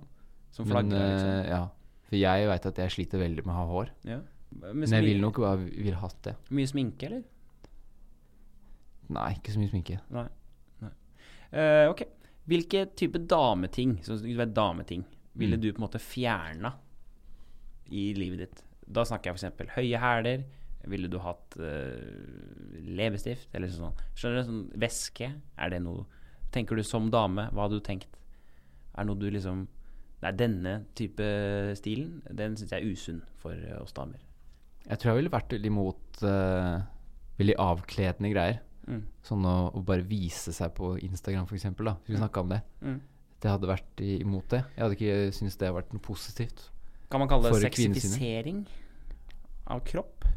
Som Men, flagrer, liksom. eh, ja. For jeg veit at jeg sliter veldig med å ha hår. Ja. Men Men jeg smi- ville nok bare ville hatt det. Mye sminke, eller? Nei, ikke så mye sminke. Nei. Nei. Eh, ok. Hvilke type dameting, så du vet dameting, ville Mm. du på en måte fjerna i livet ditt? Da snakker jeg f.eks. høye hæler. Ville du hatt eh, leppestift? Eller sånn. Skjønner du? Sånn væske. Er det noe Tenker du som dame, hva hadde du tenkt? Er det noe du liksom Nei, denne type stilen, den syns jeg er usunn for eh, oss damer. Jeg tror jeg ville vært veldig imot eh, veldig avkledende greier. Mm. Sånn å, å bare vise seg på Instagram, f.eks. Hvis vi snakka om det. Mm. Det hadde vært i, imot det. Jeg hadde ikke syntes det hadde vært noe positivt. Kan man kalle det For kvinnesynet. sexifisering av kropp?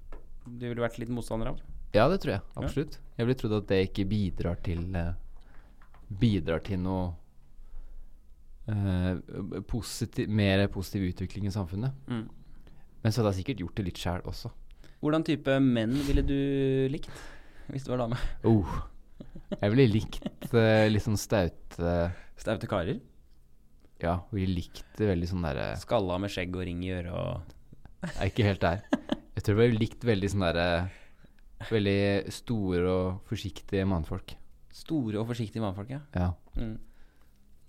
Det ville du vært litt motstander av? Ja, det tror jeg. Absolutt. Jeg ville trodd at det ikke bidrar til eh, Bidrar til noe eh, positiv, mer positiv utvikling i samfunnet. Mm. Men så hadde jeg sikkert gjort det litt sjæl også. Hvordan type menn ville du likt hvis du var dame? Oh. Jeg ville likt eh, litt sånn staute Staute karer. Ja, ville likt det veldig sånn derre Skalla med skjegg og ring i øret og Jeg er ikke helt der. Jeg tror jeg ville likt veldig sånn derre Veldig store og forsiktige mannfolk. Store og forsiktige mannfolk, ja. Ja. Mm.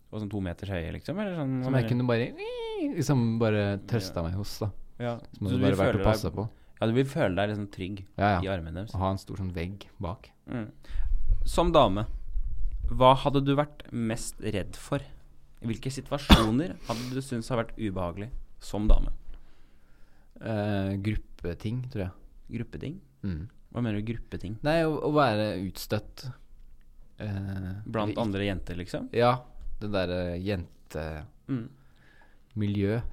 Og sånn to meters høye, liksom? Eller sånn, Som jeg kunne bare Liksom bare trøsta meg hos, da. ja. Som Så hadde du vil bare vært føle og passa deg, på. Ja, du vil føle deg liksom trygg Ja, i ja. armene deres. Og ha en stor sånn vegg bak. Mm. Som dame, hva hadde du vært mest redd for? I hvilke situasjoner hadde du syntes har vært ubehagelig som dame? Eh, gruppeting, tror jeg. Gruppeting? Mm. Hva mener du gruppeting? Nei, å, å være utstøtt. Eh, Blant eller- andre jenter, liksom? Ja. Det eh, derre jentemiljøet. Mm.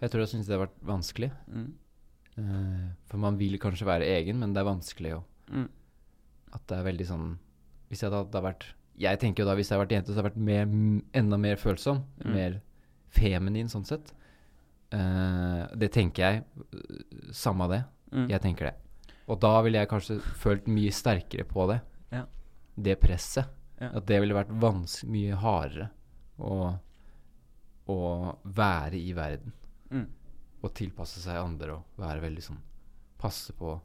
Jeg tror jeg syns det har vært vanskelig. Mm. Eh, for man vil kanskje være egen, men det er vanskelig å Mm. At det er veldig sånn Hvis jeg da hadde vært Jeg tenker jo da hvis jeg hadde vært jente, så hadde jeg vært mer, m- enda mer følsom. Mm. Mer feminin sånn sett. Eh, det tenker jeg. øh, Samme det. Mm. Jeg tenker det. Og da ville jeg kanskje følt mye sterkere på det. Ja. Det presset. Ja. At det ville vært vans mye hardere å, å være i verden. Mm. Og tilpasse seg andre og være veldig sånn Passe på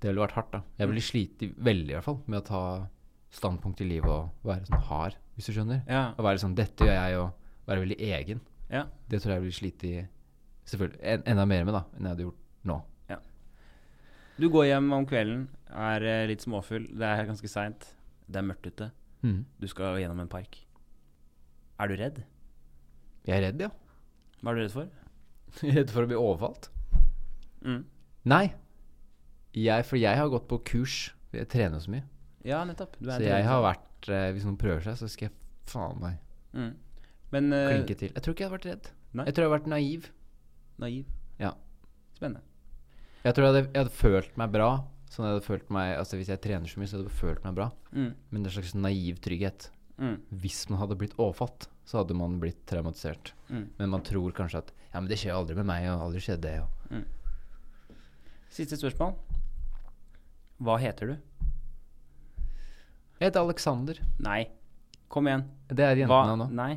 Det ville vært hardt, da. Jeg ville Mm. slite veldig, i hvert fall, med å ta standpunkt i livet og være sånn hard, hvis du skjønner. Ja. Å være sånn 'Dette gjør jeg', og være veldig egen. Ja. Det tror jeg jeg ville slite i selvfølgelig en, enda mer med, da, enn jeg hadde gjort nå. Du går hjem om kvelden, er eh, litt småfull, det er ganske seint, det er mørkt ute, Mm. du skal gjennom en park. Er du redd? Jeg er <laughs> redd, ja. Hva er du redd for? Redd for å bli overfalt? Mm. Nei. Jeg, for jeg har gått på kurs. Jeg trener så mye. Ja, nettopp. Du er en Så jeg trener. har vært eh, Hvis noen prøver seg, så skal jeg faen meg mm. Men eh, klinke til. Jeg tror ikke jeg har vært redd. Nei. Jeg tror jeg har vært naiv. naiv. Ja. Spennende. Jeg tror jeg hadde, jeg hadde følt meg bra. Sånn jeg hadde følt meg Altså Hvis jeg trener så mye, så hadde jeg følt meg bra. Mm. Men det er en slags naiv trygghet. Mm. Hvis man hadde blitt overfalt, så hadde man blitt traumatisert. Mm. Men man tror kanskje at Ja, men det skjer jo aldri med meg, og aldri skjedde det. Og. Siste spørsmål. Hva heter du? Jeg heter Alexander. Nei. Kom igjen. Det er Hva jentenavn nå. Nei.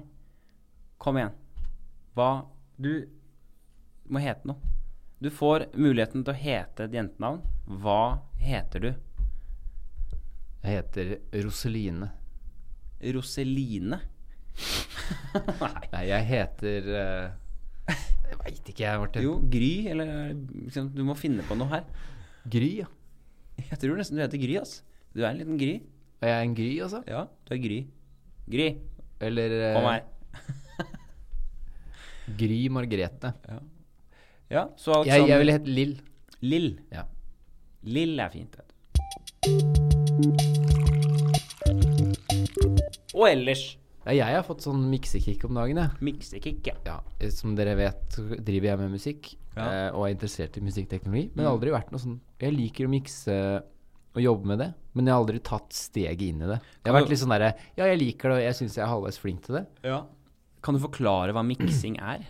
Kom igjen. Hva Du må hete noe. Du får muligheten til å hete et jentenavn. Hva heter du? Jeg heter Roseline. Roseline? <laughs> Nei. Nei, jeg heter eh, Jeg veit ikke, jeg, Martin. Jo, Gry, eller liksom, Du må finne på noe her. Gry, ja. Jeg tror nesten du heter Gry, ass. Du er en liten Gry. Er jeg en Gry, altså? Ja, du er Gry. Gry, Eller eh, kom her. Gry Margrethe. Ja, så Jeg, Alexander jeg ville hett Lill. Lill. Ja. Lill er fint. vet du. Og ellers Nei, jeg har fått sånn miksekick om dagen, jeg. miksekick, ja. Ja, eh, som dere vet, så driver jeg med musikk Ja. Mm. eh, og er interessert i musikkteknologi. Men jeg har aldri vært noe sånn Jeg liker å mikse og jobbe med det, men jeg har aldri tatt steget inn i det. Jeg har Kan vært litt sånn derre Ja, jeg liker det, og jeg syns jeg er halvveis flink til det. ja. Kan du forklare hva miksing er?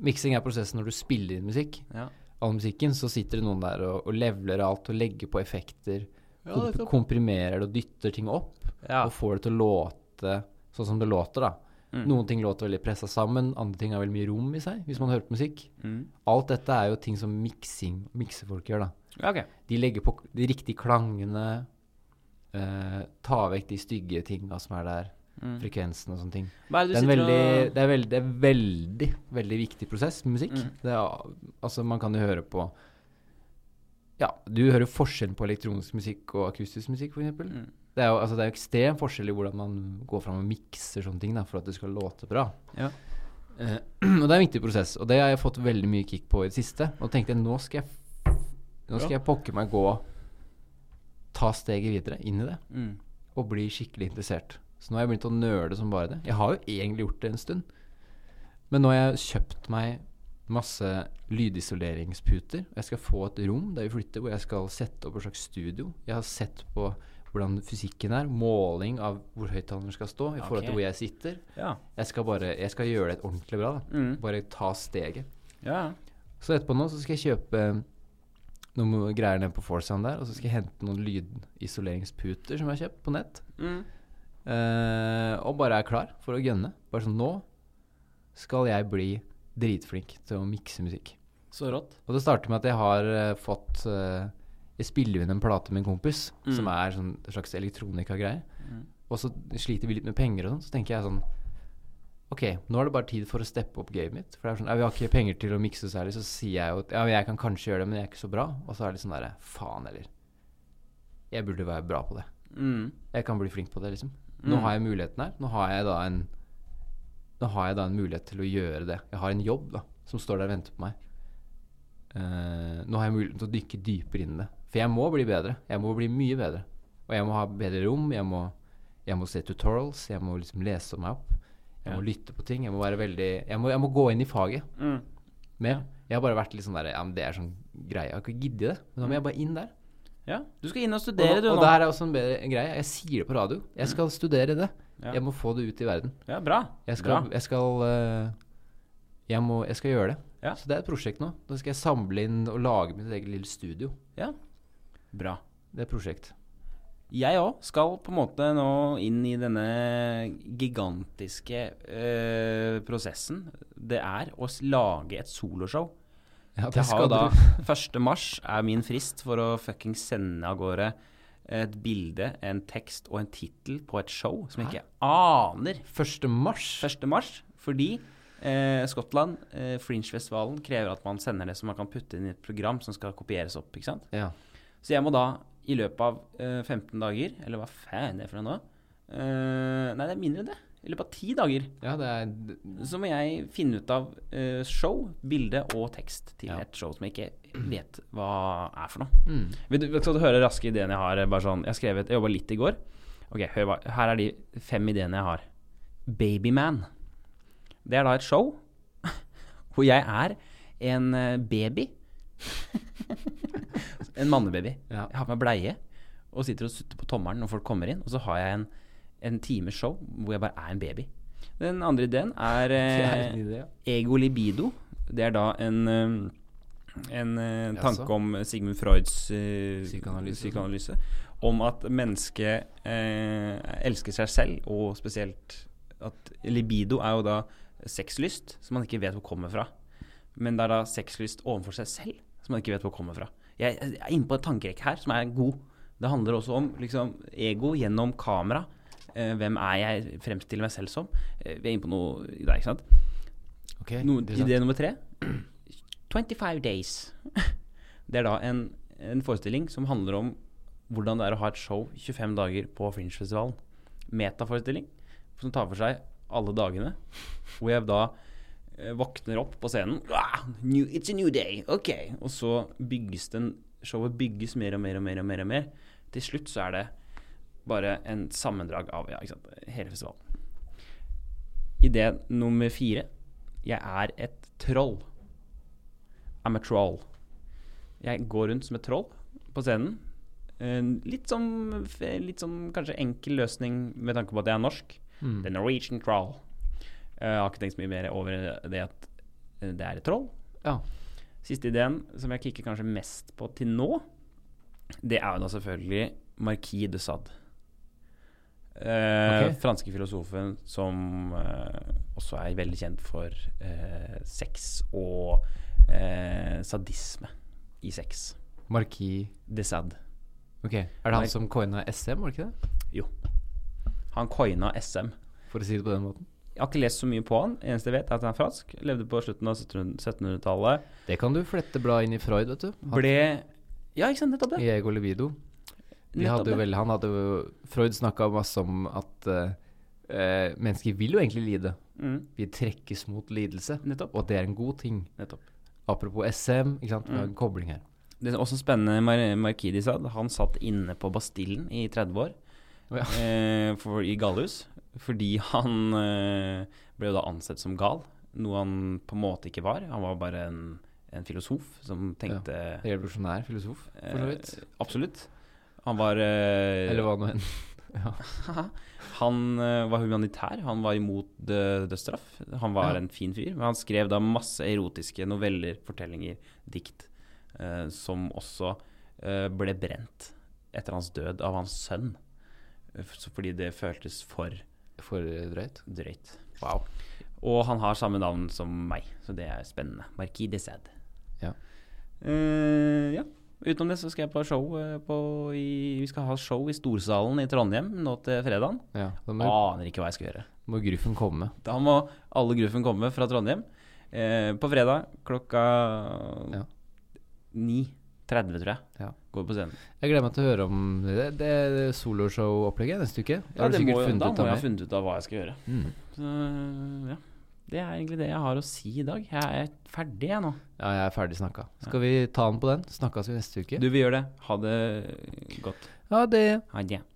Miksing er prosessen når du spiller inn musikk. Ja. All musikken, så sitter det noen der og, og leveler alt og legger på effekter. Ja, komp nettopp. komprimerer det og dytter ting opp. Ja. Og får det til å låte sånn som det låter, da. Noen ting låter veldig pressa sammen, andre ting har veldig mye rom i seg, hvis man hører på musikk. Mm. Alt dette er jo ting som miksing, miksefolk gjør, da. ja ok. De legger på de riktige klangene, eh, tar vekk de stygge tinga som er der, frekvensene og sånne ting. Mm. Hva er Det det du er, en sitter veldig, og det, er veldig, det er veldig, veldig viktig prosess med musikk. Mm. Det er, altså, man kan jo høre på Ja, du hører forskjellen på elektronisk musikk og akustisk musikk, f.eks. Mm. eksempel Det er jo altså, det er jo ekstrem forskjell i hvordan man går fram og mikser sånne ting da, for at det skal låte bra. Ja. Eh, <clears throat> og det er en viktig prosess, og det har jeg fått veldig mye kick på i det siste. Og tenkte jeg nå skal jeg, nå skal Ja. jeg pokker meg gå Ta steget videre inn i det mm. og blir skikkelig interessert. Så nå har jeg begynt å nøle som bare det. Jeg har jo egentlig gjort det en stund. Men nå har jeg kjøpt meg masse lydisoleringsputer. Og jeg skal få et rom der vi flytter, hvor jeg skal sette opp et slags studio. Jeg har sett på hvordan fysikken er, måling av hvor høyttaleren skal stå i Ok. forhold til hvor jeg sitter. Ja. Jeg skal bare jeg skal gjøre det ordentlig bra. Da. Mm. Bare ta steget. Ja. Så etterpå nå så skal jeg kjøpe noen greier nede på Forsound der, og så skal jeg hente noen lydisoleringsputer som jeg har kjøpt på nett. Mm. Eh, og bare er klar for å gønne. Bare sånn Nå skal jeg bli dritflink til å mikse musikk. Så rått. Og det starter med at jeg har eh, fått eh, Jeg spiller jo inn en plate med en kompis, Mm. som er sånn en slags elektronikagreie. Og så sliter vi litt med penger og sånn. Så tenker jeg sånn Ok, nå er det bare tid for å steppe opp gamet mitt. For det er sånn, ja, vi har ikke penger til å mikse særlig, så sier jeg jo at ja, men jeg kan kanskje gjøre det, men jeg er ikke så bra. Og så er det sånn derre Faen heller. Jeg burde være bra på det Mm. jeg kan bli flink på det, liksom. Nå har jeg muligheten her. Nå har jeg da en Nå har jeg da en mulighet til å gjøre det. Jeg har en jobb da som står der og venter på meg. Eh, nå har jeg muligheten til å dykke dypere inn i det. For jeg må bli bedre. Jeg må bli mye bedre. Og jeg må ha bedre rom. Jeg må, jeg må se tutorials. Jeg må liksom lese meg opp. Jeg må lytte på ting. Jeg må være veldig Jeg må, jeg må gå inn i faget Mm. mer. Jeg har bare vært litt sånn der Ja, men det er sånn greie. Jeg har ikke giddet det. Men nå må jeg bare inn der. Ja. Du skal inn og Og, studere, du, og nå. der er også en bedre greie. Jeg sier det på radio. Jeg skal studere det. Ja. Jeg må få det ut i verden. Ja, bra. Jeg skal, jeg skal, eh, jeg må, jeg skal gjøre det. Ja. Så det er et prosjekt nå. Da skal jeg samle inn og lage mitt eget lille studio. Bra. Ja. bra. Det er et prosjekt. Jeg òg skal på en måte nå inn i denne gigantiske eh, prosessen det er å s- lage et soloshow. Ja, Jeg har jo skal da du. <laughs> 1. mars er min frist for å fucking sende av gårde et bilde, en tekst og en tittel på et show som jeg ikke aner. 1. mars. 1. mars, fordi eh, Skottland, eh, Fringe-festivalen, krever at man sender det så man kan putte inn i et program som skal kopieres opp, ikke sant? Ja. Så jeg må da i løpet av eh, 15 dager, eller hva faen er det for noe nå? Eh, nei, det er mindre enn det. I løpet av ti dager ja, det er så må jeg finne ut av eh, show, bilde og tekst til Ja. et show som jeg ikke vet hva er for noe. Vil, du, skal du høre raske ideene jeg har? eh, Bare sånn, jeg har skrevet, jeg jobba litt i går. Ok, hør hva, Her er de fem ideene jeg har. Babyman. Det er da et show <laughs> hvor jeg er en eh, baby. <laughs> en mannebaby. Ja. Jeg har på meg bleie og sitter og sutter på tommelen når folk kommer inn. Og så har jeg en, en times show hvor jeg bare er en baby. Den andre ideen er <laughs> det er en eh, idé, ja. ego libido. Det er da en, eh, en eh, tanke Jaså? om Sigmund Freuds eh, Psykoanalyse. psykoanalyse. Om at mennesket eh, elsker seg selv, og spesielt at libido er jo da sexlyst som man ikke vet hvor kommer fra. Men det er da sexlyst overfor seg selv som man ikke vet hvor kommer fra. Jeg jeg er inne på en tankerekke her som er god. Det handler også om liksom, ego gjennom kamera. Eh, hvem er jeg fremstiller meg selv som? Eh, vi er inne på noe der, ikke sant? Ok, No, interessant. idé nummer tre. <clears throat> 25 Days. <laughs> Det er da en, en forestilling som handler om hvordan det er å ha et show 25 dager på Fringe-festivalen. Metaforestilling som tar for seg alle dagene. Hvor jeg da eh, våkner opp på scenen. Ah, new, it's a new day, ok. Og så bygges det en showet bygges mer og mer og mer. og mer og mer Til slutt så er det bare en sammendrag av ja, ikke sant, hele festivalen. Idé nummer fire. Jeg er et troll. I'm a troll. Jeg går rundt som et troll på scenen. En Litt sånn, litt sånn kanskje enkel løsning med tanke på at jeg er norsk. Mm. The Norwegian troll. Eh, Jeg har ikke tenkt så mye mer over det at eh, det er et troll. Ja. Siste ideen, som jeg kikker kanskje mest på til nå, det er jo da selvfølgelig Marquis de Sade. Eh, Ok. Franske filosofen som eh, også er veldig kjent for eh, sex og eh, sadisme i sex. Marquis De Sade. Ok, Er det Nei. han som coina SM, var det ikke det? Han coina SM. For å si det på den måten. Jeg har ikke lest så mye på han. Eneste jeg vet, er at han er fransk. Levde på slutten av 1700-tallet. Det kan du flette bra inn i Freud, vet du. Han, ble Ja, ikke sant, nettopp det. Jeg og Libido. De Nettopp hadde det. jo vel, han hadde jo Freud snakka masse om at eh, eh, mennesker vil jo egentlig lide. Mm, Vi trekkes mot lidelse, nettopp. og det er en god ting. nettopp. Apropos SM, ikke sant? vi Mm. har en kobling her. Det er også spennende Mar Markidi sa, han satt inne på Bastillen i 30 år Å ja. <laughs> eh, for, i gallhus fordi han eh, ble jo da ansett som gal, noe han på en måte ikke var. Han var bare en, en filosof som tenkte Revolusjonær filosof, for så vidt. eh, Absolutt. Han var eh, Eller hva nå enn. Han eh, var humanitær, han var imot dø- dødsstraff. Han var Ja. en fin fyr. Men han skrev da masse erotiske noveller, fortellinger, dikt, eh, som også eh, ble brent etter hans død av hans sønn. Eh, f- så Fordi det føltes for For drøyt. drøyt. Wow. Og han har samme navn som meg, så det er spennende. Marquis de Sade. Ja. Eh, ja. Utenom det så skal jeg på show eh, på i, Vi skal ha show i Storsalen i Trondheim nå til fredagen. Ja, da må, Aner ikke hva jeg skal gjøre. må Gruffen komme. Da må alle gruffen komme fra Trondheim eh, på fredag klokka Ja. 9.30, tror jeg. Ja. Går på scenen. Jeg gleder meg til å høre om det, det soloshow-opplegget neste uke. Da har du det må sikkert jo- funnet da må ut av jeg ha mer. funnet ut av hva jeg skal gjøre. Mm. Så, ja. Det er egentlig det jeg har å si i dag. Jeg er ferdig, jeg nå. Ja, jeg er ferdig snakka. Skal vi ta den på den? Snakkes vi neste uke? Du, vi gjør det. Ha det godt. Ja, det Ha det.